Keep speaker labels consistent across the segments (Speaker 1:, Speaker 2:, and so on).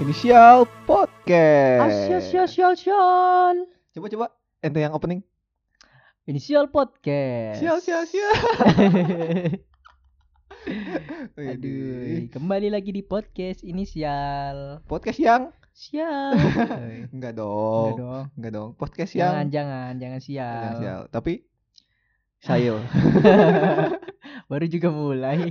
Speaker 1: Inisial
Speaker 2: Ah,
Speaker 1: Podcast.
Speaker 2: Asyal, asyal,
Speaker 1: Coba coba ente yang opening.
Speaker 2: Inisial podcast.
Speaker 1: Sial sial sial.
Speaker 2: Aduh, kembali lagi di podcast inisial.
Speaker 1: Podcast yang
Speaker 2: Sial. Oi,
Speaker 1: enggak
Speaker 2: enggak
Speaker 1: dong.
Speaker 2: dong.
Speaker 1: Enggak dong. Podcast
Speaker 2: Jangan,
Speaker 1: yang
Speaker 2: jangan, jangan sial.
Speaker 1: Oh, Jangan sial. Tapi sayur.
Speaker 2: Baru juga mulai.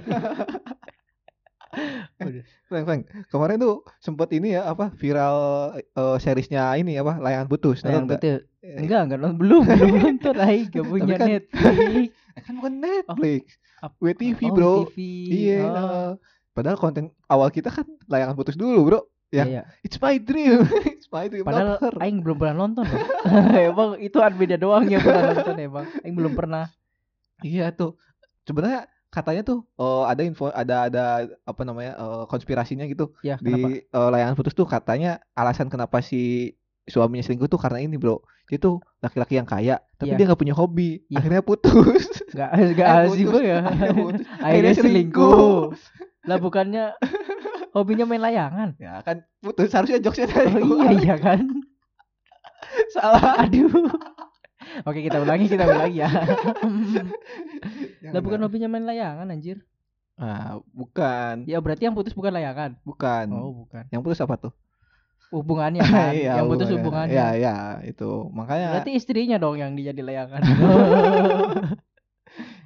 Speaker 1: Frank, Frank, kemarin tuh sempet ini ya apa viral eh, seriesnya ini apa layangan putus.
Speaker 2: Yang
Speaker 1: nonton nggak?
Speaker 2: betul.
Speaker 1: Eh,
Speaker 2: Enggak, enggak nonton belum, belum nonton ai, gak punya
Speaker 1: kan-
Speaker 2: Netflix.
Speaker 1: kan bukan Netflix.
Speaker 2: Ap-
Speaker 1: WTV
Speaker 2: Oh,
Speaker 1: bro.
Speaker 2: TV.
Speaker 1: Iya.
Speaker 2: Oh,
Speaker 1: nah. Padahal konten awal kita kan layangan putus dulu bro. ya.
Speaker 2: iya.
Speaker 1: It's my dream. It's my dream.
Speaker 2: Padahal
Speaker 1: not her.
Speaker 2: aing belum pernah nonton. loh. emang itu beda doang yang pernah nonton emang. Aing belum pernah.
Speaker 1: Iya tuh. Sebenarnya katanya tuh eh, ada info ada ada apa namanya eh, konspirasinya gitu
Speaker 2: Ya,
Speaker 1: di
Speaker 2: kenapa?
Speaker 1: eh, layangan putus tuh katanya alasan kenapa si suaminya selingkuh tuh karena ini bro dia tuh laki-laki yang kaya tapi
Speaker 2: Iya.
Speaker 1: dia nggak punya hobi
Speaker 2: Iya.
Speaker 1: akhirnya putus
Speaker 2: Enggak, enggak
Speaker 1: Eh,
Speaker 2: asik
Speaker 1: putus.
Speaker 2: gua ya.
Speaker 1: akhirnya putus
Speaker 2: Akhirnya selingkuh. Lah bukannya hobinya main layangan.
Speaker 1: ya kan putus harusnya jokesnya dari
Speaker 2: Oh
Speaker 1: gua.
Speaker 2: iya iya kan.
Speaker 1: salah
Speaker 2: Aduh. Oke kita ulangi kita ulangi ya.
Speaker 1: Jangan,
Speaker 2: Lah bukan
Speaker 1: Bang.
Speaker 2: hobinya main layangan anjir.
Speaker 1: Ya, Ah, bukan
Speaker 2: Ya berarti yang putus bukan layangan.
Speaker 1: bukan
Speaker 2: Oh bukan.
Speaker 1: yang putus apa tuh
Speaker 2: Hubungannya kan.
Speaker 1: Iya,
Speaker 2: yang putus
Speaker 1: hubungannya. iya. ya
Speaker 2: hubungannya.
Speaker 1: ya itu makanya
Speaker 2: Berarti istrinya dong yang dia jadi layangan.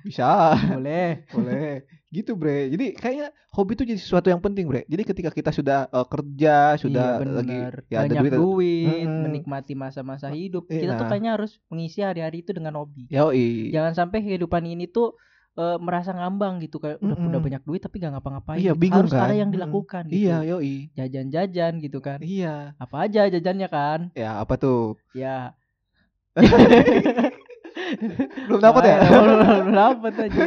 Speaker 1: bisa
Speaker 2: Boleh.
Speaker 1: Boleh. Gitu, Bre. Jadi kayaknya hobi itu jadi sesuatu yang penting, Bre. Jadi ketika kita sudah eh, kerja, sudah
Speaker 2: iya,
Speaker 1: lagi
Speaker 2: benar.
Speaker 1: ya ada
Speaker 2: banyak
Speaker 1: duit.
Speaker 2: duit,
Speaker 1: ada- Mm-mm.
Speaker 2: menikmati masa-masa hidup.
Speaker 1: Iya,
Speaker 2: Kita tuh
Speaker 1: nah.
Speaker 2: kayaknya harus mengisi hari-hari itu dengan hobi.
Speaker 1: Yoi.
Speaker 2: jangan sampai kehidupan ini tuh eh, merasa ngambang gitu kayak udah,
Speaker 1: Mm-mm.
Speaker 2: udah banyak duit tapi gak ngapa-ngapain
Speaker 1: Iya,
Speaker 2: gitu.
Speaker 1: bingung
Speaker 2: harus
Speaker 1: kan?
Speaker 2: ada yang
Speaker 1: Mm-mm.
Speaker 2: dilakukan gitu.
Speaker 1: Iya, yoi.
Speaker 2: jajan-jajan gitu kan
Speaker 1: Iya.
Speaker 2: apa aja jajannya kan
Speaker 1: Ya, apa tuh?
Speaker 2: ya
Speaker 1: Belum dapat ya?
Speaker 2: Makanya, belum- belum dapat aja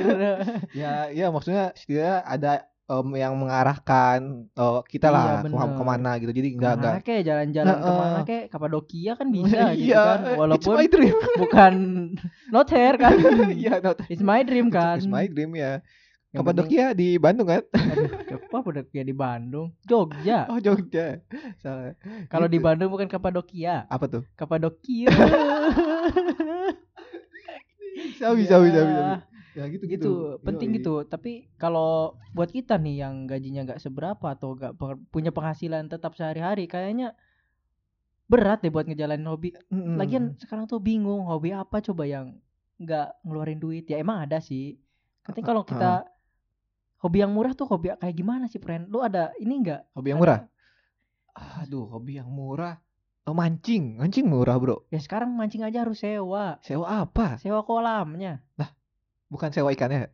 Speaker 1: ya, ya maksudnya setidaknya ada em, yang mengarahkan eh, kita
Speaker 2: Iya,
Speaker 1: lah ke
Speaker 2: bener.
Speaker 1: kemana gitu. Jadi enggak enggak.
Speaker 2: kemana kek jalan-jalan
Speaker 1: Nah,
Speaker 2: kemana
Speaker 1: eh.
Speaker 2: kek Kapadokia kan bisa gitu
Speaker 1: Iya,
Speaker 2: kan
Speaker 1: it's my
Speaker 2: walaupun
Speaker 1: dream.
Speaker 2: bukan not hair kan
Speaker 1: Iya, not-
Speaker 2: it's my dream kan
Speaker 1: It's my dream ya.
Speaker 2: Yang Nah.
Speaker 1: Kapadokia di Bandung kan?
Speaker 2: penting- aduh, apa Kapadokia di Bandung Jogja
Speaker 1: Oh, Jogja. Salah.
Speaker 2: kalau di
Speaker 1: Gitu.
Speaker 2: Bandung bukan Kapadokia
Speaker 1: Apa tuh?
Speaker 2: Kapadokia
Speaker 1: Sabi,
Speaker 2: Ya.
Speaker 1: sabi, sabi, sabi. Ya gitu
Speaker 2: gitu penting gitu tapi kalau buat kita nih yang gajinya nggak seberapa atau nggak per- punya penghasilan tetap sehari-hari kayaknya berat deh buat ngejalanin hobi
Speaker 1: Hmm.
Speaker 2: lagian sekarang tuh bingung hobi apa coba yang nggak ngeluarin duit ya emang ada sih tapi kalau kita hobi yang murah tuh hobi kayak gimana sih friend lu ada ini nggak
Speaker 1: hobi yang
Speaker 2: Ada-
Speaker 1: murah. Aduh, hobi yang murah. Oh, mancing, mancing murah, Bro.
Speaker 2: ya sekarang mancing aja harus sewa
Speaker 1: Sewa apa?
Speaker 2: sewa kolamnya
Speaker 1: Bukan sewa ikannya.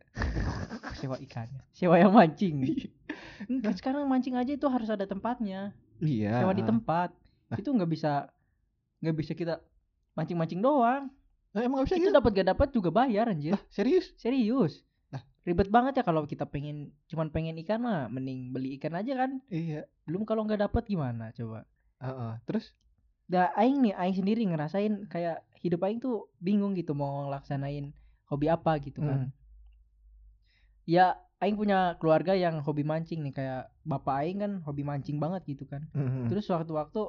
Speaker 2: sewa ikannya sewa yang mancing Iya. Enggak, sekarang mancing aja itu harus ada tempatnya
Speaker 1: iya.
Speaker 2: sewa di tempat itu nggak bisa nggak bisa kita mancing-mancing doang
Speaker 1: Lah, emang gak bisa
Speaker 2: itu ya?
Speaker 1: gitu?
Speaker 2: dapat gak dapat juga bayar anjir
Speaker 1: Lah, serius?
Speaker 2: serius
Speaker 1: Lah.
Speaker 2: ribet banget ya kalau kita pengen cuman pengen ikan mah mending beli ikan aja kan
Speaker 1: Iya.
Speaker 2: belum kalau nggak dapat gimana coba
Speaker 1: Heeh, terus
Speaker 2: dah aing nih aing sendiri ngerasain kayak hidup aing tuh bingung gitu mau ngelaksanain hobi apa gitu kan
Speaker 1: Mm-hmm.
Speaker 2: ya aing punya keluarga yang hobi mancing nih kayak bapak aing kan hobi mancing banget gitu kan
Speaker 1: Mm-mm.
Speaker 2: Terus waktu waktu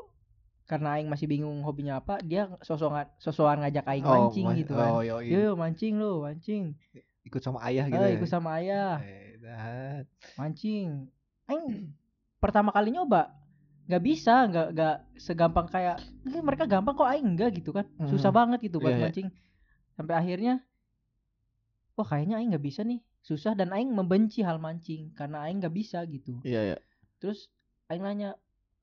Speaker 2: karena aing masih bingung hobinya apa, dia sosokan sosokan ngajak aing
Speaker 1: Oh,
Speaker 2: mancing
Speaker 1: man-
Speaker 2: gitu kan.
Speaker 1: Oh, yoi.
Speaker 2: Yo, mancing lo, mancing.
Speaker 1: Ikut sama ayah
Speaker 2: Eh,
Speaker 1: gitu. ya.
Speaker 2: ikut sama ayah,
Speaker 1: Eh, dah.
Speaker 2: mancing. Aing pertama kali nyoba nggak bisa, nggak nggak segampang kayak "Eh, mereka gampang kok aing enggak gitu kan. Susah
Speaker 1: Mhm.
Speaker 2: banget gitu buat
Speaker 1: Iya, iya.
Speaker 2: mancing. Sampai akhirnya wah kayaknya aing nggak bisa nih. Susah dan aing membenci hal mancing karena aing nggak bisa gitu.
Speaker 1: Iya, iya.
Speaker 2: terus aing nanya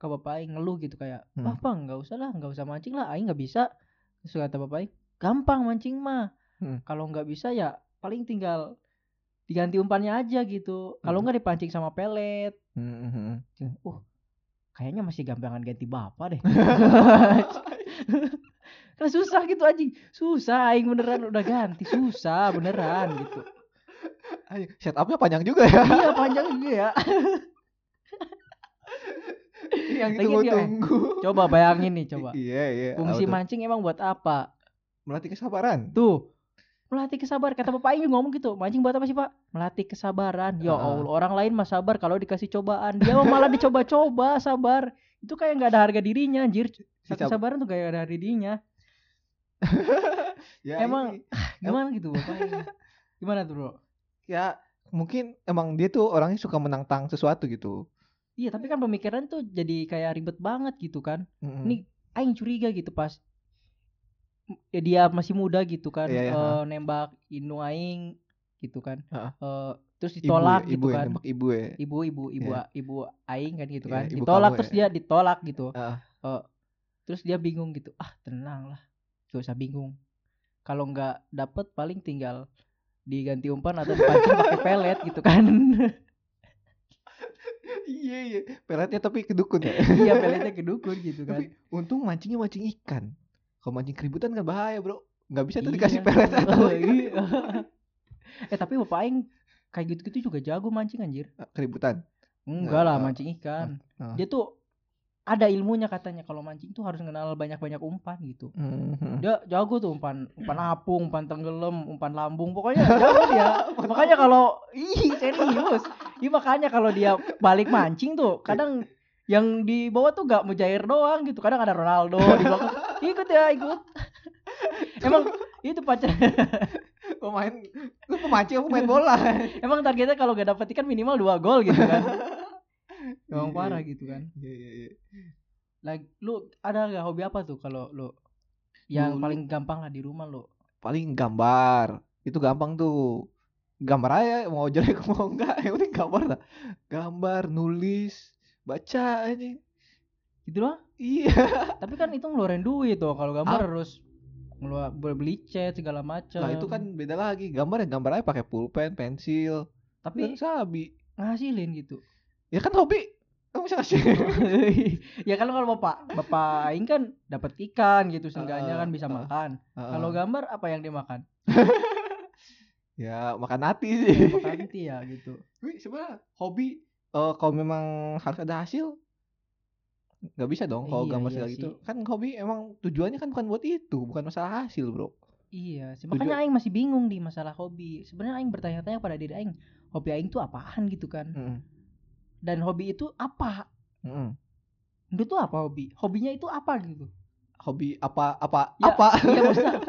Speaker 2: ke bapak aing ngeluh gitu kayak
Speaker 1: Hmm.
Speaker 2: "Ah, bang nggak usah lah nggak usah mancing lah aing nggak bisa terus kata bapak aing gampang mancing mah
Speaker 1: Hmm.
Speaker 2: kalau nggak bisa ya paling tinggal diganti umpannya aja gitu
Speaker 1: Hmm.
Speaker 2: kalau nggak dipancing sama pelet
Speaker 1: Mm-mm.
Speaker 2: uh kayaknya masih gampangan ganti bapak deh kan susah gitu anjing susah aing beneran udah ganti susah beneran gitu
Speaker 1: Ayo, set up-nya panjang juga ya.
Speaker 2: iya panjang juga ya
Speaker 1: yang
Speaker 2: Lagi dia, eh.
Speaker 1: tunggu-tunggu.
Speaker 2: coba bayangin nih coba
Speaker 1: Iya, iya.
Speaker 2: fungsi
Speaker 1: Apa tuh?
Speaker 2: mancing emang buat apa
Speaker 1: melatih kesabaran.
Speaker 2: Tuh melatih kesabaran kata bapak Aing ngomong gitu mancing buat apa sih pak melatih kesabaran ya
Speaker 1: Ah.
Speaker 2: allah orang lain mah sabar kalau dikasih cobaan dia mah malah dicoba-coba sabar itu kayak nggak ada harga dirinya anjir satu
Speaker 1: cab-
Speaker 2: sabaran tuh kayak nggak ada harga dirinya
Speaker 1: ya,
Speaker 2: Emang-
Speaker 1: ini-
Speaker 2: gimana gitu bapaknya gimana tuh bro
Speaker 1: ya mungkin emang dia tuh orangnya suka menantang sesuatu gitu.
Speaker 2: iya tapi kan pemikiran tuh jadi kayak ribet banget gitu kan
Speaker 1: Mm-mm.
Speaker 2: Nih, aing curiga gitu pas ya dia masih muda gitu kan
Speaker 1: Iya, iya,
Speaker 2: eh, nembak inu aing gitu kan
Speaker 1: Heeh.
Speaker 2: Eh,
Speaker 1: Ibu
Speaker 2: terus
Speaker 1: ya,
Speaker 2: ditolak gitu
Speaker 1: ibu ya,
Speaker 2: kan
Speaker 1: nembak ibu ya.
Speaker 2: ibu ibu ibu
Speaker 1: Iya.
Speaker 2: ibu aing kan gitu
Speaker 1: Iya,
Speaker 2: kan
Speaker 1: ibu
Speaker 2: ditolak
Speaker 1: kamu
Speaker 2: terus
Speaker 1: ya.
Speaker 2: dia ditolak gitu
Speaker 1: Heeh.
Speaker 2: Eh, terus dia bingung gitu ah tenang lah gak usah bingung kalau nggak dapet paling tinggal diganti umpan atau dipancing pakai pelet gitu kan
Speaker 1: Iya iya. Peletnya tapi kedukun ya.
Speaker 2: iya peletnya ke dukun gitu kan
Speaker 1: tapi untung mancingnya mancing ikan. Kalau mancing keributan kan bahaya bro. Nggak bisa tuh
Speaker 2: Iya.
Speaker 1: dikasih pelet atau ikan.
Speaker 2: Iya. eh tapi bapak aing kayak gitu-gitu juga jago mancing anjir
Speaker 1: Eh, keributan.
Speaker 2: enggak lah
Speaker 1: Nggak.
Speaker 2: mancing ikan
Speaker 1: Nggak.
Speaker 2: dia tuh ada ilmunya katanya kalau mancing tuh harus kenal banyak-banyak umpan gitu dia jago tuh umpan umpan apung umpan tenggelam umpan lambung pokoknya jago dia makanya kalau ih serius Ih, makanya kalau dia balik mancing tuh kadang yang dibawa tuh gak mujair doang gitu kadang ada Ronaldo di belakang ikut ya ikut emang itu pacar
Speaker 1: Pemain lu pemancing apa pemain bola.
Speaker 2: Emang targetnya kalau gak dapet ikan minimal dua gol gitu kan. Emang
Speaker 1: Iya,
Speaker 2: parah
Speaker 1: iya.
Speaker 2: gitu kan.
Speaker 1: Iya iya iya.
Speaker 2: Lagi lu ada gak hobi apa tuh kalau lu yang
Speaker 1: Dulu.
Speaker 2: paling gampang lah di rumah lu?
Speaker 1: Paling gambar. Itu gampang tuh. Gambar aja mau jelek mau enggak, yang penting gambar lah. Gambar, nulis, baca aja.
Speaker 2: Gitu doang.
Speaker 1: Iya.
Speaker 2: Tapi kan itu ngeluarin duit tuh kalau gambar harus ngeluar boleh beli cat segala
Speaker 1: Ah.
Speaker 2: macam.
Speaker 1: Lah itu kan beda lagi. Gambar ya gambar aja pakai pulpen, pensil.
Speaker 2: tapi
Speaker 1: Tapi sabi.
Speaker 2: ngasilin gitu.
Speaker 1: Ya kan hobi. Kamu bisa ngasih.
Speaker 2: ya kan kalau bapak bapak aing kan dapat ikan gitu
Speaker 1: Heeh,
Speaker 2: seenggaknya kan bisa
Speaker 1: heeh.
Speaker 2: makan.
Speaker 1: ah.
Speaker 2: Kalau gambar apa yang dimakan?
Speaker 1: ya makan hati sih.
Speaker 2: Ya, makan nanti ya gitu.
Speaker 1: Tapi sebenarnya hobi eh kalau memang harus ada hasil nggak bisa dong kalau
Speaker 2: Iya,
Speaker 1: gambar
Speaker 2: iya
Speaker 1: segala gitu kan hobi emang tujuannya kan bukan buat itu bukan masalah hasil bro
Speaker 2: Iya, sih.
Speaker 1: Tujuh-
Speaker 2: makanya aing masih bingung di masalah hobi. Sebenarnya aing bertanya-tanya pada diri aing, hobi aing tuh apaan gitu kan?
Speaker 1: Mm-mm.
Speaker 2: Dan hobi itu apa?
Speaker 1: Mm-mm.
Speaker 2: Menurut tuh apa hobi? Hobinya itu apa gitu?
Speaker 1: hobi apa apa
Speaker 2: Ya,
Speaker 1: apa
Speaker 2: Iya, maksudnya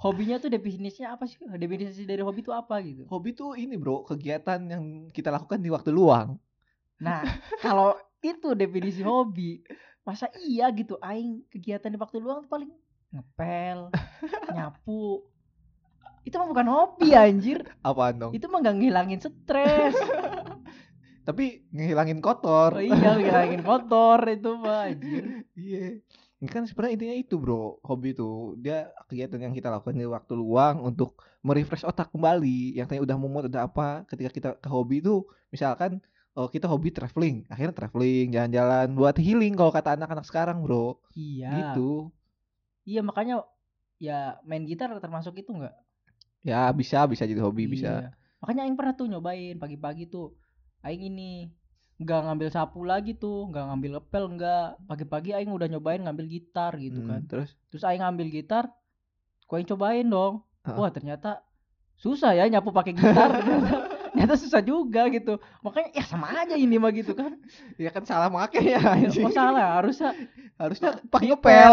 Speaker 2: hobinya tuh definisinya apa sih? Definisi dari hobi itu apa gitu?
Speaker 1: hobi tuh ini bro kegiatan yang kita lakukan di waktu luang
Speaker 2: Nah, kalau itu definisi hobi, masa iya gitu aing kegiatan di waktu luang tuh paling ngepel, nyapu. Itu mah bukan hobi anjir.
Speaker 1: apaan dong
Speaker 2: Itu mah gak ngilangin stres.
Speaker 1: tapi ngehilangin kotor
Speaker 2: Oh iya, ngilangin kotor itu mah anjir.
Speaker 1: Iya. Ini kan sebenarnya intinya itu bro, hobi itu dia kegiatan yang kita lakukan di waktu luang untuk merefresh otak kembali. Yang tadi udah mumet udah apa, ketika kita ke hobi itu misalkan eh, kita hobi traveling, akhirnya traveling, jalan-jalan buat healing kalau kata anak-anak sekarang bro,
Speaker 2: Iya.
Speaker 1: gitu.
Speaker 2: Iya makanya ya main gitar termasuk itu enggak?
Speaker 1: Ya bisa bisa jadi hobi bisa.
Speaker 2: Makanya aing pernah tuh nyobain pagi-pagi tuh. Aing ini nggak ngambil sapu lagi tuh, nggak ngambil lepel enggak. Pagi-pagi aing udah nyobain ngambil gitar gitu
Speaker 1: Hmm,
Speaker 2: kan.
Speaker 1: Terus
Speaker 2: Terus aing ngambil gitar, ku aing cobain dong.
Speaker 1: Heeh.
Speaker 2: Wah, ternyata susah ya nyapu pakai gitar. ternyata, ternyata susah juga gitu. Makanya ya sama aja ini mah gitu kan.
Speaker 1: ya kan salah make ya anjing.
Speaker 2: Oh salah, harusnya
Speaker 1: Harusnya pakai ngepel.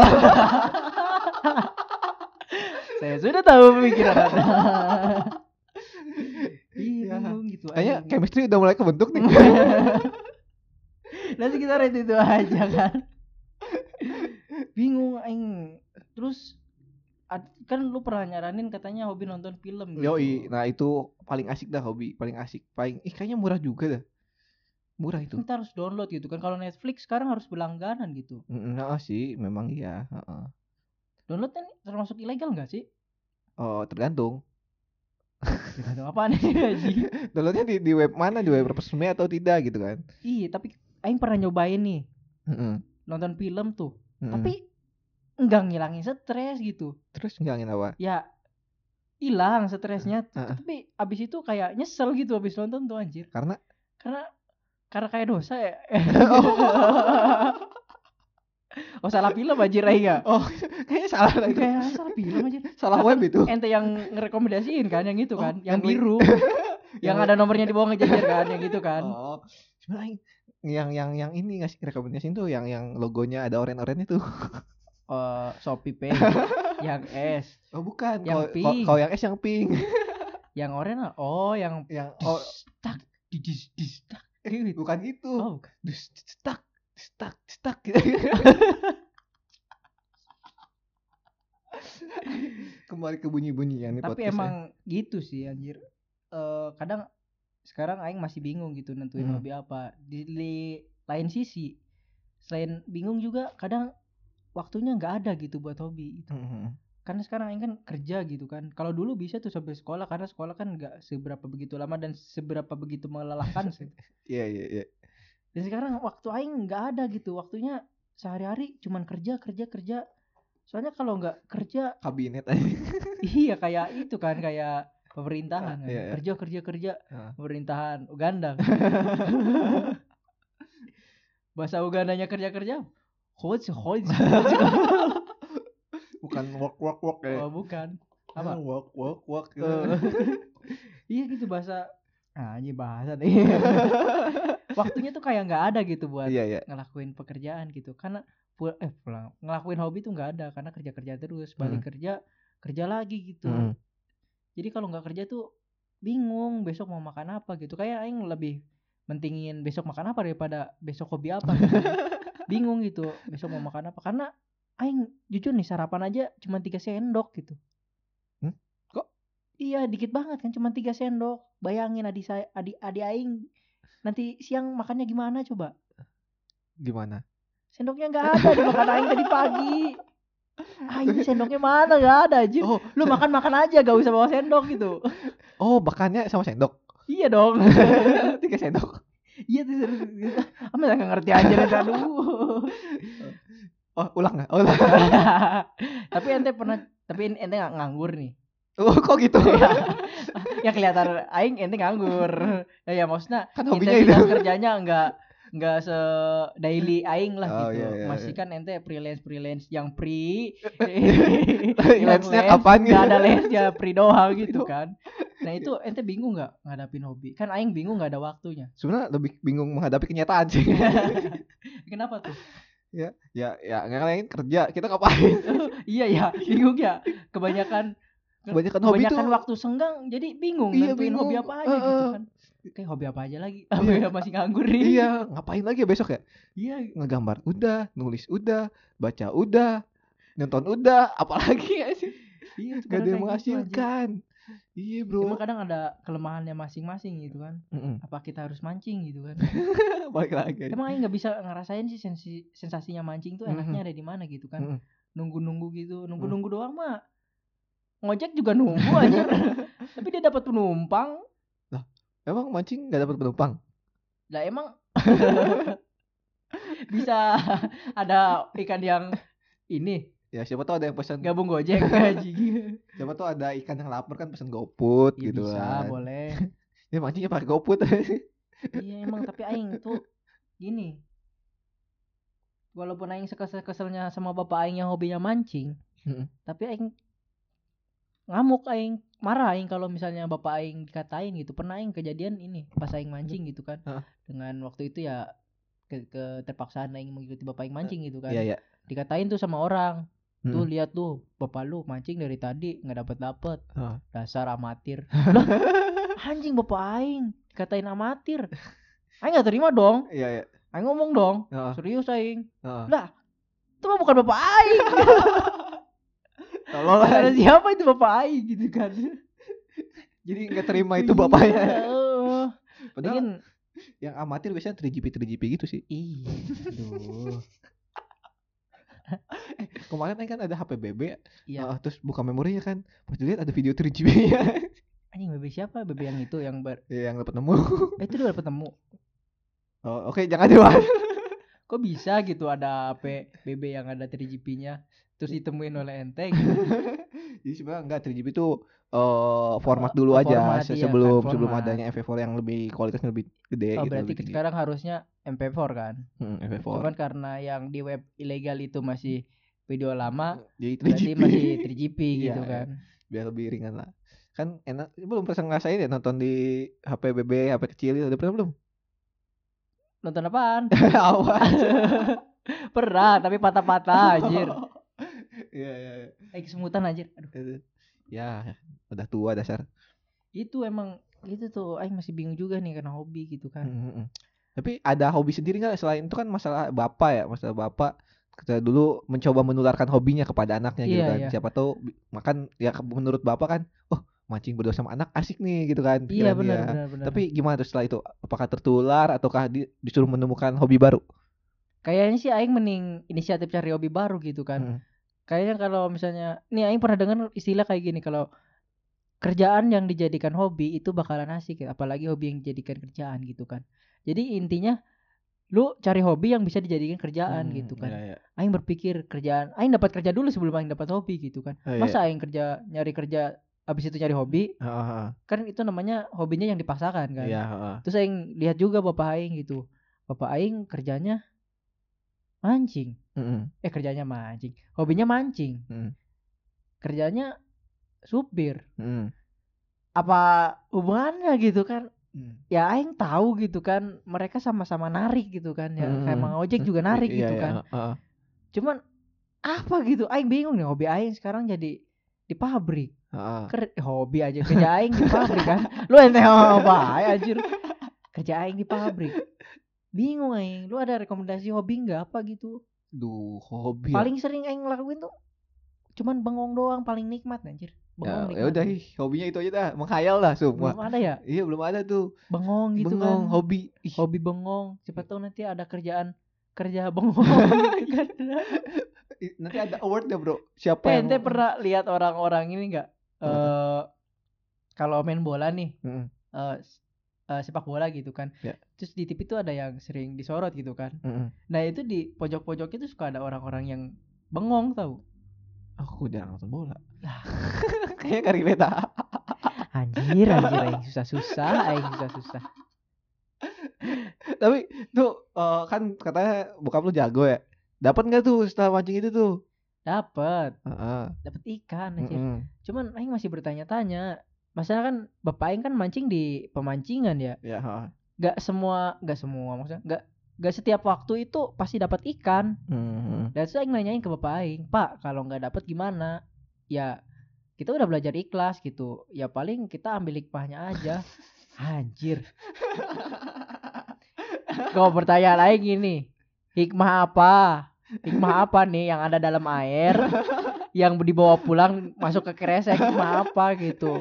Speaker 2: Saya sudah tahu pemikiran Anda. Iya,
Speaker 1: Ya.
Speaker 2: bingung gitu.
Speaker 1: Kayaknya
Speaker 2: anjing.
Speaker 1: chemistry udah mulai kebentuk nih.
Speaker 2: Nanti kita rate itu aja kan. bingung aing. Terus ad- kan lu pernah nyaranin katanya hobi nonton film gitu.
Speaker 1: Yoi, nah itu paling asik dah hobi, paling asik, paling ih kayaknya murah juga dah. Murah itu.
Speaker 2: Kita harus download gitu kan. Kalau Netflix sekarang harus berlangganan gitu.
Speaker 1: Mm, Nah sih, memang iya. heeh.
Speaker 2: Download kan termasuk ilegal nggak sih?
Speaker 1: Oh, tergantung.
Speaker 2: Tergantung apa nih anjing.
Speaker 1: Downloadnya di, di web mana, di
Speaker 2: Hmm.
Speaker 1: web resmi atau tidak gitu kan?
Speaker 2: Iya, tapi aing pernah nyobain nih
Speaker 1: Mm-mm,
Speaker 2: nonton film tuh.
Speaker 1: mm-mm.
Speaker 2: Tapi enggak ngilangin stres gitu.
Speaker 1: terus ngilangin apa?
Speaker 2: ya hilang stresnya
Speaker 1: Heeh.
Speaker 2: tapi abis itu kayak nyesel gitu abis nonton tuh anjir
Speaker 1: Karena
Speaker 2: karena karena kayak dosa ya
Speaker 1: oh,
Speaker 2: oh salah film anjir ya
Speaker 1: kayaknya salah lah itu.
Speaker 2: kayak "Ah, salah film anjir
Speaker 1: Salah web itu.
Speaker 2: ente yang ngerekomendasiin kan yang itu
Speaker 1: Oh,
Speaker 2: kan yang,
Speaker 1: yang
Speaker 2: biru yang
Speaker 1: Yang-
Speaker 2: ada nomornya di bawah ngejajar kan yang itu kan
Speaker 1: Oh, sebenarnya aing yang yang yang ini ngasih rekomendasi itu yang yang logonya ada oren-oren itu.
Speaker 2: Eh, Shopee Pay yang S,
Speaker 1: Oh bukan, kalau
Speaker 2: Yang pink.
Speaker 1: kalau- kalau yang es yang pink.
Speaker 2: yang oranye oh yang
Speaker 1: yang oh
Speaker 2: oh tak di dis dis tak gitu.
Speaker 1: bukan gitu.
Speaker 2: Oh, bukan.
Speaker 1: Dus stak stak stak gitu. Kembali ke bunyi-bunyian nih
Speaker 2: tapi
Speaker 1: podcastnya.
Speaker 2: emang gitu sih anjir Eh kadang sekarang aing masih bingung gitu nentuin
Speaker 1: Hmm.
Speaker 2: hobi apa di, li- lain sisi selain bingung juga kadang waktunya nggak ada gitu buat hobi gitu.
Speaker 1: Mhm.
Speaker 2: karena sekarang aing kan kerja gitu kan kalau dulu bisa tuh sampai sekolah karena sekolah kan nggak seberapa begitu lama dan seberapa begitu melelahkan sih
Speaker 1: Iya iya iya.
Speaker 2: dan sekarang waktu aing nggak ada gitu waktunya sehari-hari cuman kerja kerja kerja soalnya kalau nggak kerja
Speaker 1: Kabinet aja.
Speaker 2: iya kayak itu kan kayak pemerintahan kan.
Speaker 1: Iya, iya.
Speaker 2: kerja kerja kerja
Speaker 1: Heeh.
Speaker 2: pemerintahan Uganda bahasa Ugandanya kerja kerja Hoj, hoj.
Speaker 1: Bukan work work work ya.
Speaker 2: oh, bukan
Speaker 1: Apa?
Speaker 2: apa
Speaker 1: Work work work. gitu.
Speaker 2: Eh, iya gitu bahasa ah ini bahasa nih waktunya tuh kayak nggak ada gitu buat
Speaker 1: Iya iya.
Speaker 2: ngelakuin pekerjaan gitu karena pu- eh pulang ngelakuin hobi tuh nggak ada karena kerja kerja terus balik
Speaker 1: Hmm.
Speaker 2: kerja kerja lagi gitu
Speaker 1: Mhm.
Speaker 2: jadi kalau nggak kerja tuh bingung besok mau makan apa gitu kayak aing lebih mentingin besok makan apa daripada besok hobi apa gitu. bingung gitu besok mau makan apa karena aing jujur nih sarapan aja cuma tiga sendok gitu
Speaker 1: Hmm? Kok?
Speaker 2: iya dikit banget kan cuma tiga sendok bayangin adik saya adik adik aing nanti siang makannya gimana coba
Speaker 1: Gimana?
Speaker 2: sendoknya nggak ada di makan aing tadi pagi Aing sendoknya mana nggak ada aja
Speaker 1: Oh,
Speaker 2: lu makan makan aja gak usah bawa sendok gitu
Speaker 1: oh bakannya sama sendok.
Speaker 2: Iya dong.
Speaker 1: Tiga sendok.
Speaker 2: Iya tuh serius. Amat gak Ah, ngerti aja nih tadi.
Speaker 1: Oh, ulang nggak? Oh, ulang.
Speaker 2: tapi ente pernah tapi en- ente nggak nganggur nih.
Speaker 1: Oh, kok gitu?
Speaker 2: ya kelihatan aing ente nganggur. Ya, ya maksudnya
Speaker 1: kan hobinya itu.
Speaker 2: intensitas kerjanya enggak enggak se daily aing lah
Speaker 1: Oh,
Speaker 2: gitu.
Speaker 1: iya, iya,
Speaker 2: Masih kan ente freelance freelance yang free.
Speaker 1: Freelance-nya kapan gitu?
Speaker 2: Enggak ada lesnya free doang gitu kan. Nah itu ente bingung nggak ngadapin hobi? Kan aing bingung nggak ada waktunya.
Speaker 1: Sebenarnya lebih bingung menghadapi kenyataan sih.
Speaker 2: Kenapa tuh?
Speaker 1: ya, ya ngalahin kerja. Kita ngapain?
Speaker 2: iya ya bingung ya kebanyakan
Speaker 1: Kebanyakan hobi
Speaker 2: kebanyakan
Speaker 1: tuh
Speaker 2: waktu senggang jadi bingung
Speaker 1: Iya,
Speaker 2: nentuin
Speaker 1: bingung.
Speaker 2: hobi apa aja gitu
Speaker 1: Heeh.
Speaker 2: kan kayak hobi apa aja lagi
Speaker 1: Iya.
Speaker 2: masih nganggur nih
Speaker 1: Iya, ngapain lagi ya besok ya?
Speaker 2: iya
Speaker 1: Ngegambar udah, nulis udah, baca udah, nonton udah, apalagi ya sih?
Speaker 2: iya
Speaker 1: Gak
Speaker 2: sekarang
Speaker 1: ada yang
Speaker 2: kayak gitu aja. kan
Speaker 1: menghasilkan. Iya
Speaker 2: cuma
Speaker 1: bro.
Speaker 2: kadang ada kelemahannya masing-masing gitu kan
Speaker 1: Mm-mm.
Speaker 2: apa kita harus mancing gitu kan
Speaker 1: Balik lagi. aja.
Speaker 2: emang Aing nggak bisa ngerasain sih sensi- sensasinya
Speaker 1: Mhm.
Speaker 2: mancing tuh enaknya ada di mana gitu kan
Speaker 1: Mm-mm.
Speaker 2: nunggu-nunggu gitu nunggu-nunggu
Speaker 1: Mhm.
Speaker 2: doang mah ngojek juga nunggu aja tapi dia dapat penumpang
Speaker 1: Emang mancing gak dapat penumpang?
Speaker 2: Lah emang bisa ada ikan yang ini
Speaker 1: Ya siapa tahu ada yang pesan.
Speaker 2: gabung Gojek gaji.
Speaker 1: Siapa tahu ada ikan yang lapar kan pesan GoFood
Speaker 2: Iya
Speaker 1: gitu
Speaker 2: bisa,
Speaker 1: kan.
Speaker 2: boleh.
Speaker 1: Ya mancingnya pakai GoFood.
Speaker 2: Iya emang tapi aing tuh gini. Walaupun aing sekesel-keselnya sama bapak aing yang hobinya mancing,
Speaker 1: Mm-mm.
Speaker 2: tapi aing ngamuk aing marah aing kalau misalnya bapak aing dikatain gitu. Pernah aing kejadian ini pas aing
Speaker 1: Iya.
Speaker 2: mancing gitu kan.
Speaker 1: Heeh.
Speaker 2: Dengan waktu itu ya ke, keterpaksaan aing mengikuti bapak aing mancing gitu kan.
Speaker 1: Iya ya.
Speaker 2: dikatain tuh sama orang tuh
Speaker 1: Mm.
Speaker 2: lihat tuh bapak lu mancing dari tadi nggak dapet dapet
Speaker 1: Ah.
Speaker 2: dasar amatir Lah, anjing bapak aing dikatain amatir aing nggak terima dong
Speaker 1: Iya ya.
Speaker 2: aing ngomong dong
Speaker 1: Heeh,
Speaker 2: serius aing
Speaker 1: heeh.
Speaker 2: itu mah bukan bapak aing
Speaker 1: Tolol lah.
Speaker 2: ada siapa itu bapak aing gitu kan
Speaker 1: Jadi nggak terima itu bapaknya.
Speaker 2: Iya, eh.
Speaker 1: Padahal
Speaker 2: Lagian,
Speaker 1: yang amatir biasanya 3GP 3GP gitu sih.
Speaker 2: ih aduh
Speaker 1: Kemarin kan ada HPBB
Speaker 2: iya
Speaker 1: ah, terus buka memorinya kan. Pas dilihat ada video 3GP-nya.
Speaker 2: anjing bebe siapa bebe yang itu yang ber
Speaker 1: Ya, yang dapat nemu.
Speaker 2: eh, itu udah ketemu
Speaker 1: Oh, oke jangan dibahas.
Speaker 2: kok bisa gitu ada HP BB yang ada 3GP-nya terus ditemuin oleh ente gitu.
Speaker 1: Jadi sebenarnya enggak 3GP itu eh format dulu aja
Speaker 2: Format,
Speaker 1: se-
Speaker 2: iya,
Speaker 1: sebelum
Speaker 2: kan,
Speaker 1: sebelum
Speaker 2: format.
Speaker 1: adanya FV4 yang lebih kualitasnya lebih gede
Speaker 2: Oh,
Speaker 1: gitu.
Speaker 2: berarti
Speaker 1: lebih tinggi.
Speaker 2: sekarang harusnya MP4 kan.
Speaker 1: Hmm, FV4.
Speaker 2: Cuman karena yang di web ilegal itu masih video lama,
Speaker 1: Hmm, Jadi 3GP
Speaker 2: berarti masih 3GP
Speaker 1: Iya,
Speaker 2: gitu
Speaker 1: iya.
Speaker 2: kan.
Speaker 1: biar lebih ringan lah. Kan enak belum pernah ngerasain ya nonton di HP BB, HP kecil itu udah pernah belum?
Speaker 2: nonton apaan
Speaker 1: Apa?
Speaker 2: pernah tapi patah-patah anjir
Speaker 1: Iya, iya, iya.
Speaker 2: eh kesemutan anjir aduh
Speaker 1: Itu. Ya, udah tua dasar.
Speaker 2: itu emang itu tuh aing masih bingung juga nih karena hobi gitu kan
Speaker 1: Mm-mm. Hmm, Tapi ada hobi sendiri nggak selain itu kan masalah bapak ya, masalah bapak kita dulu mencoba menularkan hobinya kepada anaknya gitu
Speaker 2: Iya,
Speaker 1: kan.
Speaker 2: iya.
Speaker 1: Siapa tahu bi- makan ya ke- menurut bapak kan, oh mancing berdua sama anak asik nih gitu kan. pikiran
Speaker 2: iya benar
Speaker 1: dia.
Speaker 2: benar benar
Speaker 1: Tapi gimana tuh setelah itu? Apakah tertular ataukah di- disuruh menemukan hobi baru?
Speaker 2: kayaknya sih aing mending inisiatif cari hobi baru gitu kan
Speaker 1: Mm.
Speaker 2: kayaknya kalau misalnya nih aing pernah dengar istilah kayak gini kalau kerjaan yang dijadikan hobi itu bakalan asik ya, apalagi hobi yang dijadikan kerjaan gitu kan jadi intinya lu cari hobi yang bisa dijadikan kerjaan
Speaker 1: Mm,
Speaker 2: gitu kan
Speaker 1: iya, iya.
Speaker 2: aing berpikir kerjaan aing dapat kerja dulu sebelum aing dapat hobi gitu kan
Speaker 1: Oh, iya.
Speaker 2: masa aing kerja nyari kerja abis itu nyari hobi
Speaker 1: Heeh, heeh.
Speaker 2: kan itu namanya hobinya yang dipaksakan kan
Speaker 1: Iya, heeh.
Speaker 2: terus aing lihat juga bapak aing gitu bapak aing kerjanya mancing
Speaker 1: Mm-mm.
Speaker 2: eh kerjanya mancing hobinya mancing
Speaker 1: Hmm.
Speaker 2: kerjanya supir
Speaker 1: Mm.
Speaker 2: apa hubungannya gitu kan
Speaker 1: Mm.
Speaker 2: ya aing tahu gitu kan mereka sama-sama narik gitu kan ya kayak
Speaker 1: Hmm.
Speaker 2: emang ojek juga narik
Speaker 1: Iya,
Speaker 2: gitu
Speaker 1: iya,
Speaker 2: kan
Speaker 1: heeh.
Speaker 2: cuman apa gitu aing bingung nih hobi aing sekarang jadi di pabrik
Speaker 1: Heeh.
Speaker 2: Ker hobi aja kerja aing di pabrik kan lu ente apa ya anjir kerja aing di pabrik bingung aing lu ada rekomendasi hobi nggak apa gitu
Speaker 1: Duh, hobi. ya.
Speaker 2: paling sering aing lakuin tuh cuman bengong doang paling nikmat anjir
Speaker 1: Ya,
Speaker 2: bengong
Speaker 1: ya udah ih, hobinya itu aja dah, menghayal lah semua.
Speaker 2: belum ada ya
Speaker 1: Iya belum ada tuh.
Speaker 2: bengong gitu
Speaker 1: Bengong
Speaker 2: kan
Speaker 1: hobi. Ih,
Speaker 2: hobi bengong siapa tahu nanti ada kerjaan kerja bengong gitu kan
Speaker 1: i- nanti ada award ya bro. Siapa
Speaker 2: Eh,
Speaker 1: yang?
Speaker 2: ente pernah lihat orang-orang ini nggak
Speaker 1: Apa tuh?
Speaker 2: Eh, kalau main bola nih
Speaker 1: Mm,
Speaker 2: eh, s- eh, sepak bola gitu kan
Speaker 1: Ya.
Speaker 2: terus di TV tuh ada yang sering disorot gitu kan
Speaker 1: mm, mm.
Speaker 2: nah itu di pojok-pojok itu suka ada orang-orang yang bengong tau
Speaker 1: Aku jarang nonton bola.
Speaker 2: Lah.
Speaker 1: Kayaknya gak relate ah.
Speaker 2: anjir anjir aing susah-susah aing susah-susah
Speaker 1: Tapi tuh eh, kan katanya bokap lu jago ya. Dapat nggak tuh setelah mancing itu tuh?
Speaker 2: dapat
Speaker 1: Heeh.
Speaker 2: dapat ikan anjir.
Speaker 1: Mm-mm.
Speaker 2: Cuman aing masih bertanya-tanya. Masalah kan bapak aing kan mancing di pemancingan ya.
Speaker 1: Ya, heeh.
Speaker 2: Gak semua, gak semua maksudnya. Gak gak setiap waktu itu pasti dapat ikan.
Speaker 1: Mm-mm.
Speaker 2: Dan saya aing nanyain ke bapak aing, "Pak, kalau nggak dapat gimana?" Ya kita udah belajar ikhlas gitu. Ya paling kita ambil hikmahnya aja. Anjir. Kau bertanya lagi gini. Hikmah apa? Hikmah apa nih yang ada dalam air? yang dibawa pulang masuk ke kresek hikmah apa gitu.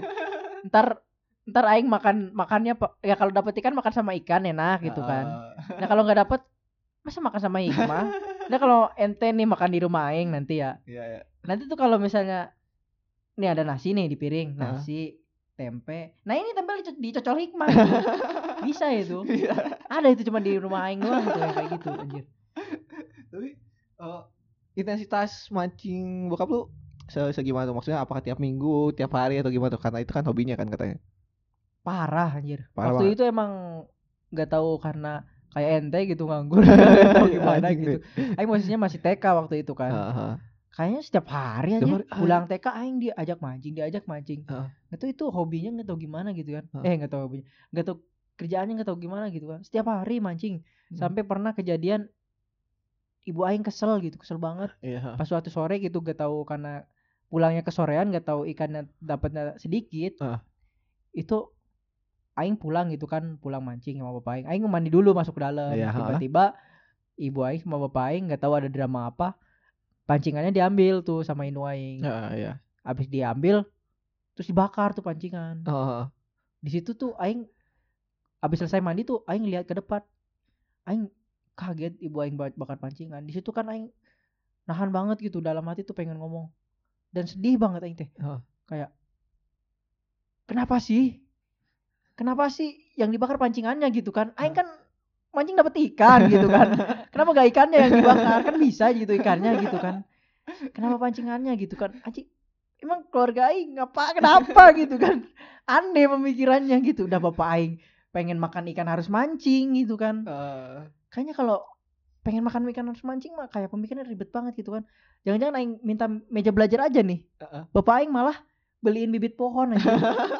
Speaker 2: Ntar ntar aing makan makannya pa- ya kalau dapet ikan makan sama ikan enak gitu kan.
Speaker 1: Ah,
Speaker 2: Nah kalau nggak dapet masa makan sama hikmah? Nah kalau ente nih makan di rumah aing nanti ya.
Speaker 1: Iya, iya.
Speaker 2: Nanti tuh kalau misalnya nih ada nasi nih di piring,
Speaker 1: Ah.
Speaker 2: nasi, tempe. Nah ini tempe dico- dicocol hikmah. Bisa itu
Speaker 1: Iya.
Speaker 2: ada itu cuma di rumah aing doang tuh yang kayak gitu anjir
Speaker 1: Tapi eh, intensitas mancing bokap lu se- segimana tuh? Maksudnya apakah tiap minggu, tiap hari atau gimana tuh? Karena itu kan hobinya kan katanya.
Speaker 2: parah anjir
Speaker 1: Parah banget.
Speaker 2: waktu itu emang nggak tahu karena kayak ente gitu nganggur nggak tahu gimana
Speaker 1: Anjing
Speaker 2: gitu aing posisinya masih TK waktu itu kan
Speaker 1: Heeh.
Speaker 2: kayaknya setiap hari
Speaker 1: Setiap
Speaker 2: aja
Speaker 1: hari, ah.
Speaker 2: pulang TK aing diajak mancing diajak mancing
Speaker 1: Heeh.
Speaker 2: nggak tahu itu hobinya nggak tahu gimana gitu kan
Speaker 1: Heeh.
Speaker 2: eh nggak tahu hobinya nggak tahu kerjaannya nggak tahu gimana gitu kan setiap hari mancing
Speaker 1: Hmm.
Speaker 2: sampai pernah kejadian ibu aing kesel gitu kesel banget
Speaker 1: Iya. heeh.
Speaker 2: pas suatu sore gitu gak tahu karena pulangnya ke sorean gak tahu ikannya dapatnya sedikit
Speaker 1: Ah.
Speaker 2: itu aing pulang gitu kan pulang mancing sama bapak aing aing mandi dulu masuk ke dalam
Speaker 1: Iya, ha.
Speaker 2: tiba-tiba ibu aing sama bapak aing gak tahu ada drama apa pancingannya diambil tuh sama inu aing
Speaker 1: Heeh, iya.
Speaker 2: habis diambil terus dibakar tuh pancingan
Speaker 1: Heeh.
Speaker 2: di situ tuh aing habis selesai mandi tuh aing lihat ke depan aing kaget ibu aing ba- bakar pancingan di situ kan aing nahan banget gitu dalam hati tuh pengen ngomong dan sedih banget aing teh
Speaker 1: Heeh.
Speaker 2: kayak kenapa sih kenapa sih yang dibakar pancingannya gitu kan aing kan mancing dapet ikan gitu kan kenapa gak ikannya yang dibakar kan bisa gitu ikannya gitu kan kenapa pancingannya gitu kan anjing emang keluarga aing ngapa kenapa gitu kan aneh pemikirannya gitu udah bapak aing pengen makan ikan harus mancing gitu kan
Speaker 1: Heeh.
Speaker 2: kayaknya kalau pengen makan ikan harus mancing mah kayak pemikirannya ribet banget gitu kan jangan-jangan aing minta meja belajar aja nih
Speaker 1: Heeh.
Speaker 2: bapak aing malah beliin bibit pohon aja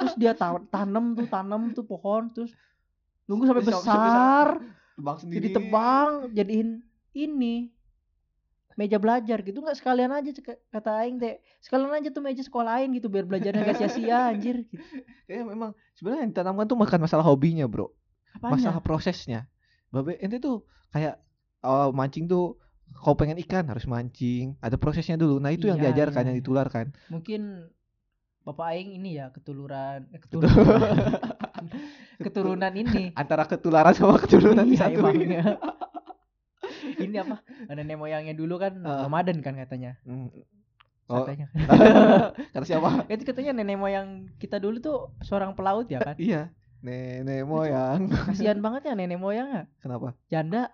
Speaker 2: terus dia ta- tanam tuh tanam tuh pohon terus nunggu sampai
Speaker 1: Sampai- sampai
Speaker 2: besar
Speaker 1: tebang sendiri
Speaker 2: jadi tebang jadiin ini meja belajar gitu nggak sekalian aja cek- kata aing teh sekalian aja tuh meja sekolah lain gitu biar belajarnya gak sia-sia anjir gitu.
Speaker 1: Kayaknya memang sebenarnya yang ditanamkan tuh bukan masalah hobinya bro masalah
Speaker 2: Apanya?
Speaker 1: prosesnya babe ente tuh kayak eh, mancing tuh kau pengen ikan harus mancing ada prosesnya dulu nah itu yang
Speaker 2: Iya,
Speaker 1: diajarkan
Speaker 2: iya,
Speaker 1: yang
Speaker 2: iya.
Speaker 1: ditularkan
Speaker 2: mungkin bapak aing ini ya ketuluran eh, keturunan keturunan ini
Speaker 1: antara ketularan sama keturunan
Speaker 2: Iya,
Speaker 1: satu
Speaker 2: emang. ini apa nenek moyangnya dulu kan
Speaker 1: Ah.
Speaker 2: Ramadan kan katanya
Speaker 1: Hmm. Oh,
Speaker 2: katanya Eh,
Speaker 1: kata siapa?
Speaker 2: itu katanya nenek moyang kita dulu tuh seorang pelaut ya kan
Speaker 1: iya, nenek moyang.
Speaker 2: kasihan banget ya nenek moyangnya
Speaker 1: Kenapa?
Speaker 2: janda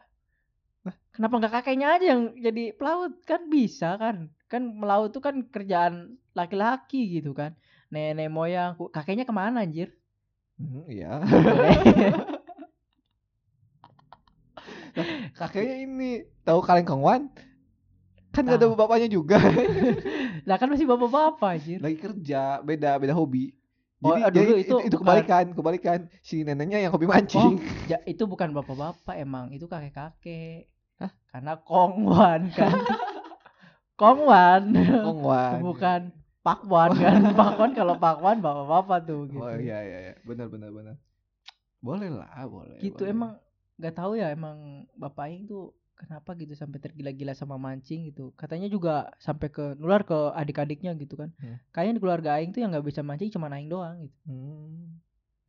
Speaker 2: kenapa nggak kakeknya aja yang jadi pelaut kan bisa kan kan melaut tuh kan kerjaan laki-laki gitu kan nenek moyang kakeknya kemana anjir
Speaker 1: Hmm, iya. Kakeknya ini tahu kaleng kongwan? Kan gak ada
Speaker 2: Tahu.
Speaker 1: bapaknya juga.
Speaker 2: lah kan masih bapak-bapak
Speaker 1: Iya.
Speaker 2: anjir
Speaker 1: Lagi kerja, beda beda hobi.
Speaker 2: Oh,
Speaker 1: Jadi,
Speaker 2: eh, dulu
Speaker 1: jadi itu,
Speaker 2: itu
Speaker 1: itu
Speaker 2: bukan-
Speaker 1: kebalikan, kebalikan. Si neneknya yang hobi
Speaker 2: Oh,
Speaker 1: mancing.
Speaker 2: ja- itu bukan bapak-bapak emang, itu kakek-kakek. Karena Kongwan kan. Kongwan.
Speaker 1: Kongwan.
Speaker 2: Oh, bukan Pakwan kan. Pakwan kalau Pakwan bapak-bapak tuh gitu.
Speaker 1: Oh iya iya iya. Benar benar benar. Boleh lah, boleh.
Speaker 2: Gitu
Speaker 1: boleh.
Speaker 2: emang nggak tahu ya emang Bapak Aing tuh kenapa gitu sampai tergila-gila sama mancing gitu. Katanya juga sampai ke nular ke adik-adiknya gitu kan.
Speaker 1: Hmm.
Speaker 2: Kayaknya di keluarga Aing tuh yang nggak bisa mancing cuma Aing doang gitu.
Speaker 1: Hmm.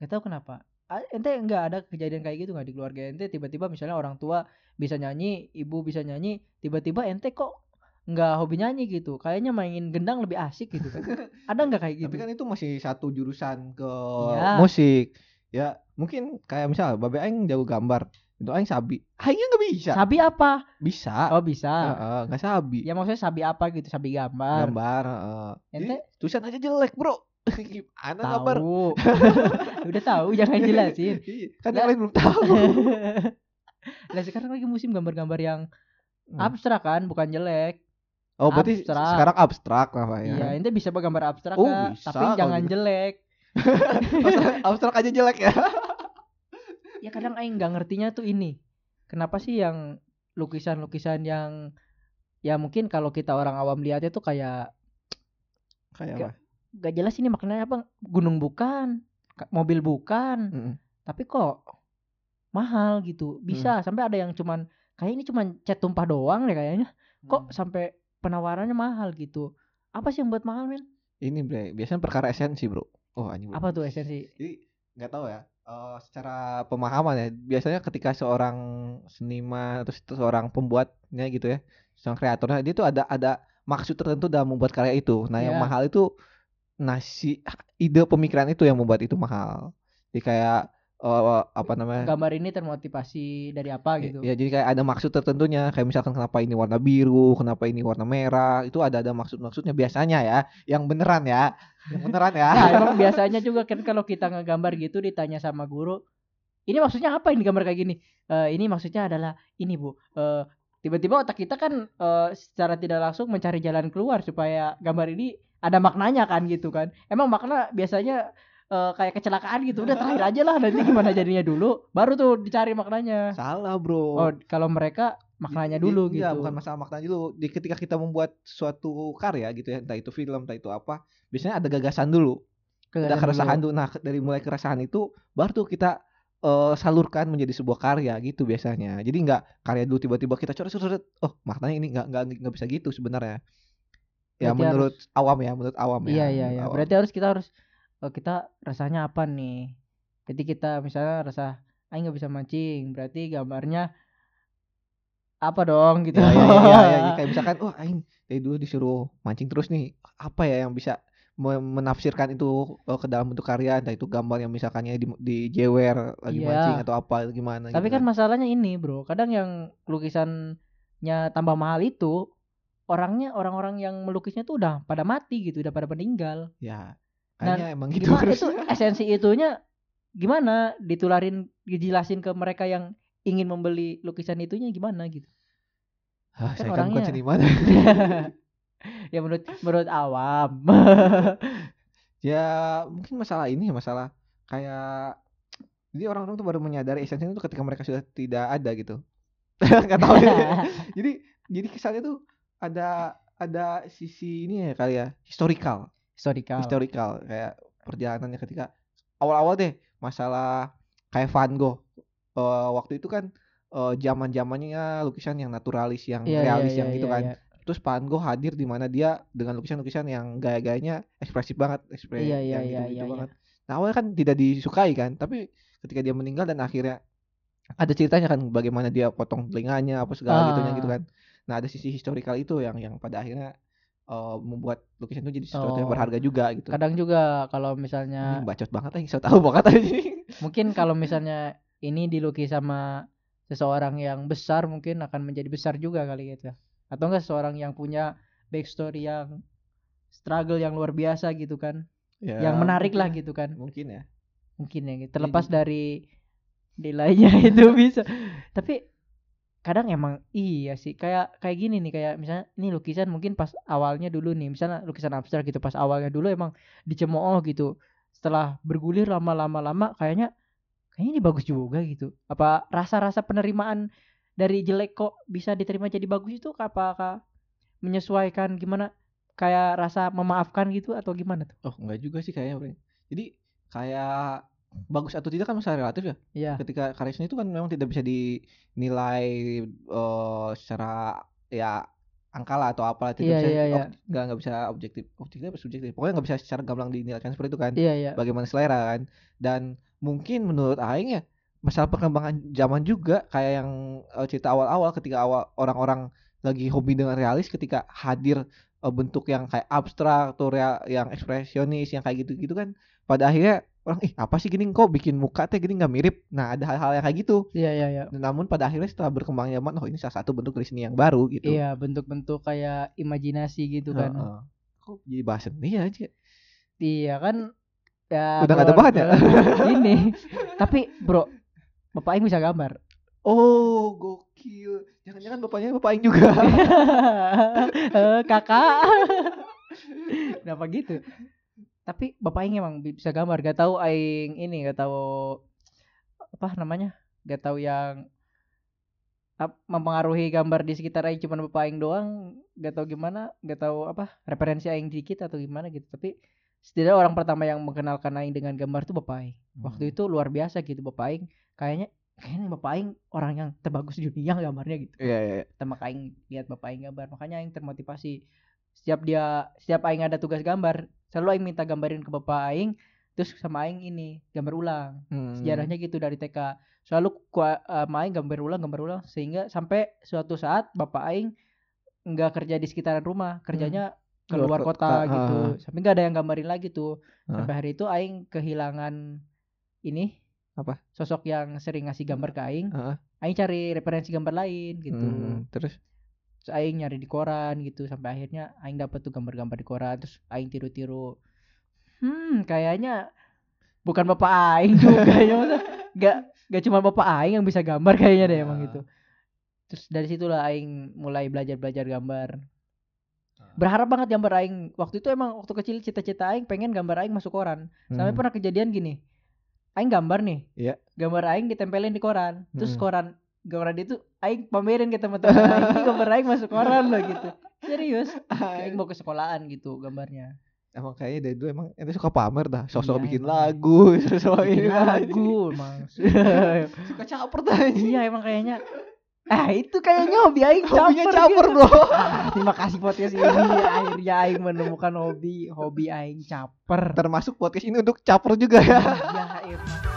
Speaker 2: Gak tahu kenapa. A- Ente nggak ada kejadian kayak gitu nggak di keluarga ente tiba-tiba misalnya orang tua bisa nyanyi, ibu bisa nyanyi, tiba-tiba ente kok nggak hobi nyanyi gitu. Kayaknya mainin gendang lebih asik gitu kan. ada nggak kayak gitu?
Speaker 1: Tapi kan itu masih satu jurusan ke
Speaker 2: Iya.
Speaker 1: musik. Ya, mungkin kayak misal Babe aing jago gambar. Itu aing sabi. Aingnya nggak bisa.
Speaker 2: Sabi apa?
Speaker 1: Bisa.
Speaker 2: Oh
Speaker 1: Heeh,
Speaker 2: bisa.
Speaker 1: nggak sabi.
Speaker 2: Ya maksudnya sabi apa gitu? Sabi gambar.
Speaker 1: Gambar, heeh. Jadi,
Speaker 2: Ente
Speaker 1: tulisan aja jelek, Bro. Gimana gambar?
Speaker 2: tahu. Udah tahu jangan jelasin.
Speaker 1: Iya, kan
Speaker 2: Lah.
Speaker 1: yang lain belum tahu.
Speaker 2: Lah sekarang lagi musim gambar-gambar yang
Speaker 1: Hmm.
Speaker 2: abstrak kan, bukan jelek.
Speaker 1: Oh, berarti
Speaker 2: Abstrak.
Speaker 1: sekarang abstrak ya. namanya.
Speaker 2: Iya, ente bisa gambar abstrak
Speaker 1: Oh,
Speaker 2: Kak,
Speaker 1: bisa
Speaker 2: tapi
Speaker 1: kalau
Speaker 2: jangan
Speaker 1: gitu.
Speaker 2: jelek.
Speaker 1: abstrak, abstrak aja jelek ya.
Speaker 2: ya kadang aing nggak ngertinya tuh ini kenapa sih yang lukisan-lukisan yang ya mungkin kalau kita orang awam lihatnya tuh kayak
Speaker 1: Kayak
Speaker 2: apa? gak jelas ini maknanya apa gunung bukan ka- mobil bukan
Speaker 1: Mm-mm.
Speaker 2: tapi kok mahal gitu bisa sampai ada yang cuman kayak ini cuman cat tumpah doang deh kayaknya kok
Speaker 1: Hmm.
Speaker 2: sampai penawarannya mahal gitu apa sih yang buat mahal men
Speaker 1: ini Bre, biasanya perkara esensi, Bro. Oh, anjing. Bro.
Speaker 2: apa tuh esensi
Speaker 1: jadi nggak tahu ya eh, secara pemahaman ya biasanya ketika seorang seniman atau se- seorang pembuatnya gitu ya seorang kreatornya dia tuh ada ada maksud tertentu dalam membuat karya itu nah yang
Speaker 2: Iya.
Speaker 1: mahal itu nasi ide pemikiran itu yang membuat itu mahal jadi kayak eh, apa namanya
Speaker 2: gambar ini termotivasi dari apa
Speaker 1: Ya-
Speaker 2: gitu
Speaker 1: Ya jadi kayak ada maksud tertentunya kayak misalkan kenapa ini warna biru, kenapa ini warna merah, itu ada ada maksud-maksudnya biasanya ya, yang beneran ya, yang beneran ya.
Speaker 2: Nah, emang biasanya juga kan kalau kita ngegambar gitu ditanya sama guru, ini maksudnya apa ini gambar kayak gini? "Eh, ini maksudnya adalah ini bu. Eh, Tiba-tiba otak kita kan eh, secara tidak langsung mencari jalan keluar supaya gambar ini ada maknanya kan gitu kan? Emang makna biasanya eh, kayak kecelakaan gitu. Udah terakhir aja lah nanti gimana jadinya dulu, baru tuh dicari maknanya.
Speaker 1: Salah, Bro.
Speaker 2: Iya. Oh kalau mereka maknanya
Speaker 1: Jadi-
Speaker 2: dulu
Speaker 1: iya,
Speaker 2: gitu.
Speaker 1: bukan masalah maknanya dulu. Di ketika kita membuat suatu karya gitu ya, entah itu film, entah itu apa, biasanya ada gagasan dulu, ada
Speaker 2: Kegagalan
Speaker 1: keresahan
Speaker 2: dulu.
Speaker 1: dulu. Nah, ke- dari mulai keresahan itu baru tuh kita eh, salurkan menjadi sebuah karya gitu biasanya. Jadi nggak karya dulu tiba-tiba kita coret-coret, oh maknanya ini nggak nggak nggak bisa gitu sebenarnya. Ya
Speaker 2: Berarti
Speaker 1: menurut awam ya, menurut awam ya.
Speaker 2: Iya iya
Speaker 1: menurut
Speaker 2: iya.
Speaker 1: awam.
Speaker 2: Berarti harus kita harus eh, kita rasanya apa nih? Jadi kita misalnya rasa aing nggak bisa mancing, berarti gambarnya apa dong gitu.
Speaker 1: Ya, ya, ya, ya, ya, ya. kayak misalkan, wah aing dari dulu disuruh mancing terus nih, apa ya yang bisa me- menafsirkan itu eh, ke dalam bentuk karya, entah itu gambar yang misalkannya di, di jewer lagi
Speaker 2: Iya.
Speaker 1: mancing atau apa atau gimana.
Speaker 2: Tapi
Speaker 1: gitu
Speaker 2: kan masalahnya ini, Bro. Kadang yang lukisannya tambah mahal itu orangnya orang-orang yang melukisnya tuh udah pada mati gitu, udah pada meninggal.
Speaker 1: ya kayaknya emang gitu
Speaker 2: Gimana
Speaker 1: terus.
Speaker 2: itu esensi itunya gimana ditularin dijelasin ke mereka yang ingin membeli lukisan itunya gimana gitu.
Speaker 1: Hah,
Speaker 2: kan
Speaker 1: saya kan bukan
Speaker 2: orangnya-
Speaker 1: seniman.
Speaker 2: ya menurut menurut awam
Speaker 1: ya mungkin masalah ini ya masalah kayak Jadi orang-orang tuh baru menyadari esensinya tuh ketika mereka sudah tidak ada gitu. Enggak tahu. ya. jadi jadi kesannya tuh ada ada sisi ini ya kali ya, historical,
Speaker 2: historical
Speaker 1: historical kayak perjalanannya ketika awal-awal deh masalah kayak Van Gogh. Eh, waktu itu kan eh, zaman-zamannya lukisan yang naturalis, yang
Speaker 2: Iya, iya,
Speaker 1: realis,
Speaker 2: iya,
Speaker 1: yang itu
Speaker 2: iya,
Speaker 1: kan.
Speaker 2: iya.
Speaker 1: Terus Van Gogh hadir di mana dia dengan lukisan-lukisan yang gaya-gayanya ekspresif banget, ekspresif
Speaker 2: Iya, iya,
Speaker 1: yang
Speaker 2: iya,
Speaker 1: gitu-gitu
Speaker 2: iya,
Speaker 1: banget. Nah awalnya kan tidak disukai kan, tapi ketika dia meninggal dan akhirnya ada ceritanya kan bagaimana dia potong telinganya apa segala
Speaker 2: Ah.
Speaker 1: gitunya gitu kan. Nah ada sisi historical itu yang yang pada akhirnya eh, membuat lukisan itu jadi sesuatu yang
Speaker 2: Oh.
Speaker 1: berharga juga gitu.
Speaker 2: Kadang juga kalau
Speaker 1: Ini
Speaker 2: misalnya
Speaker 1: bacot banget aja, so tau banget aja.
Speaker 2: mungkin kalau misalnya ini dilukis sama seseorang yang besar mungkin akan menjadi besar juga kali gitu. Atau enggak seseorang yang punya backstory yang struggle yang luar biasa gitu kan. yang menarik lah gitu
Speaker 1: Ya,
Speaker 2: kan.
Speaker 1: Mungkin ya.
Speaker 2: Mungkin ya gitu. terlepas dari nilainya itu bisa. Tapi kadang emang iya sih kayak kayak gini nih kayak misalnya ini lukisan mungkin pas awalnya dulu nih misalnya lukisan abstrak gitu pas awalnya dulu emang dicemooh gitu setelah bergulir lama-lama lama kayaknya kayaknya ini bagus juga gitu apa rasa-rasa penerimaan dari jelek kok bisa diterima jadi bagus itu apakah menyesuaikan gimana kayak rasa memaafkan gitu atau gimana tuh
Speaker 1: Oh enggak juga sih kayaknya. Bro. Jadi kayak bagus atau tidak kan masalah relatif ya.
Speaker 2: iya
Speaker 1: Ketika karya seni itu kan memang tidak bisa dinilai eh, secara ya angka lah atau apalah tidak
Speaker 2: Iya,
Speaker 1: bisa
Speaker 2: iya, iya.
Speaker 1: ob- nggak nggak bisa objektif objektif apa subjektif pokoknya nggak bisa secara gamblang dinilaikan seperti itu kan
Speaker 2: iya iya
Speaker 1: bagaimana selera kan dan mungkin menurut Aing ya masalah perkembangan zaman juga kayak yang eh, cerita awal-awal ketika awal orang-orang lagi hobi dengan realis ketika hadir eh, bentuk yang kayak abstrak atau rea- yang ekspresionis yang kayak gitu-gitu kan pada akhirnya orang ih apa sih gini kok bikin muka teh gini nggak mirip nah ada hal-hal yang kayak gitu
Speaker 2: iya iya iya
Speaker 1: namun pada akhirnya setelah berkembangnya zaman oh ini salah satu bentuk dari seni yang baru gitu
Speaker 2: Iya bentuk-bentuk kayak imajinasi gitu kan.
Speaker 1: Heeh. Kok jadi bahas seni aja
Speaker 2: Iya kan. Ya,
Speaker 1: Udah nggak ada
Speaker 2: kalau-
Speaker 1: bahan ya?
Speaker 2: kalau Ini. Tapi bro, bapak Aing bisa gambar.
Speaker 1: oh gokil jangan-jangan bapaknya bapak Aing juga
Speaker 2: Eh, Kakak. Kenapa gitu? Tapi bapak Aing emang bi- bisa gambar. Gak tahu Aing ini, gak tahu apa namanya, gak tahu yang ap- mempengaruhi gambar di sekitar Aing cuman bapak Aing doang gak tahu gimana gak tahu apa referensi Aing dikit atau gimana gitu tapi setidaknya orang pertama yang mengenalkan Aing dengan gambar tuh bapak Aing waktu itu luar biasa gitu bapak Aing kayaknya kayaknya bapak Aing orang yang terbagus di dunia gambarnya gitu
Speaker 1: Iya, iya, iya.
Speaker 2: pertama kali Aing lihat bapak Aing gambar makanya Aing termotivasi setiap dia setiap Aing ada tugas gambar selalu Aing minta gambarin ke bapak Aing terus sama Aing ini gambar ulang
Speaker 1: Hmm.
Speaker 2: sejarahnya gitu dari TK selalu kua, eh, main gambar ulang gambar ulang sehingga sampai suatu saat bapak Aing nggak kerja di sekitaran rumah kerjanya keluar
Speaker 1: Luar kota,
Speaker 2: kota,
Speaker 1: ah.
Speaker 2: gitu sampai nggak ada yang gambarin lagi tuh
Speaker 1: Ah.
Speaker 2: sampai hari itu Aing kehilangan ini
Speaker 1: Apa?
Speaker 2: sosok yang sering ngasih gambar ke Aing
Speaker 1: Ah.
Speaker 2: Aing cari referensi gambar lain gitu
Speaker 1: Hmm, terus
Speaker 2: terus aing nyari di koran gitu sampai akhirnya aing dapat tuh gambar-gambar di koran terus aing tiru-tiru hmm kayaknya bukan bapak aing juga ya maksudnya gak gak cuma bapak aing yang bisa gambar kayaknya deh emang
Speaker 1: Nah.
Speaker 2: gitu terus dari situlah aing mulai belajar-belajar gambar berharap banget gambar aing waktu itu emang waktu kecil cita-cita aing pengen gambar aing masuk koran
Speaker 1: Hmm.
Speaker 2: sampai pernah kejadian gini aing gambar nih
Speaker 1: Iya. Hmm.
Speaker 2: gambar aing ditempelin di koran terus
Speaker 1: Mm-mm.
Speaker 2: koran gambar dia tuh aing pamerin ke teman-teman aing "Ini gambar aing masuk koran loh gitu serius aing mau ke sekolahan gitu gambarnya
Speaker 1: emang kayaknya dari dulu emang itu suka pamer dah sosok
Speaker 2: Iya,
Speaker 1: bikin
Speaker 2: emang.
Speaker 1: lagu sosok ini
Speaker 2: bikin
Speaker 1: lagu
Speaker 2: lagu emang
Speaker 1: suka caper dah anjing.
Speaker 2: iya emang kayaknya ah itu kayaknya hobi aing
Speaker 1: hobinya
Speaker 2: caper,
Speaker 1: caper
Speaker 2: gitu.
Speaker 1: bro
Speaker 2: Ah, terima kasih podcast ini akhirnya aing menemukan hobi hobi aing caper
Speaker 1: termasuk podcast ini untuk caper juga ya
Speaker 2: iya emang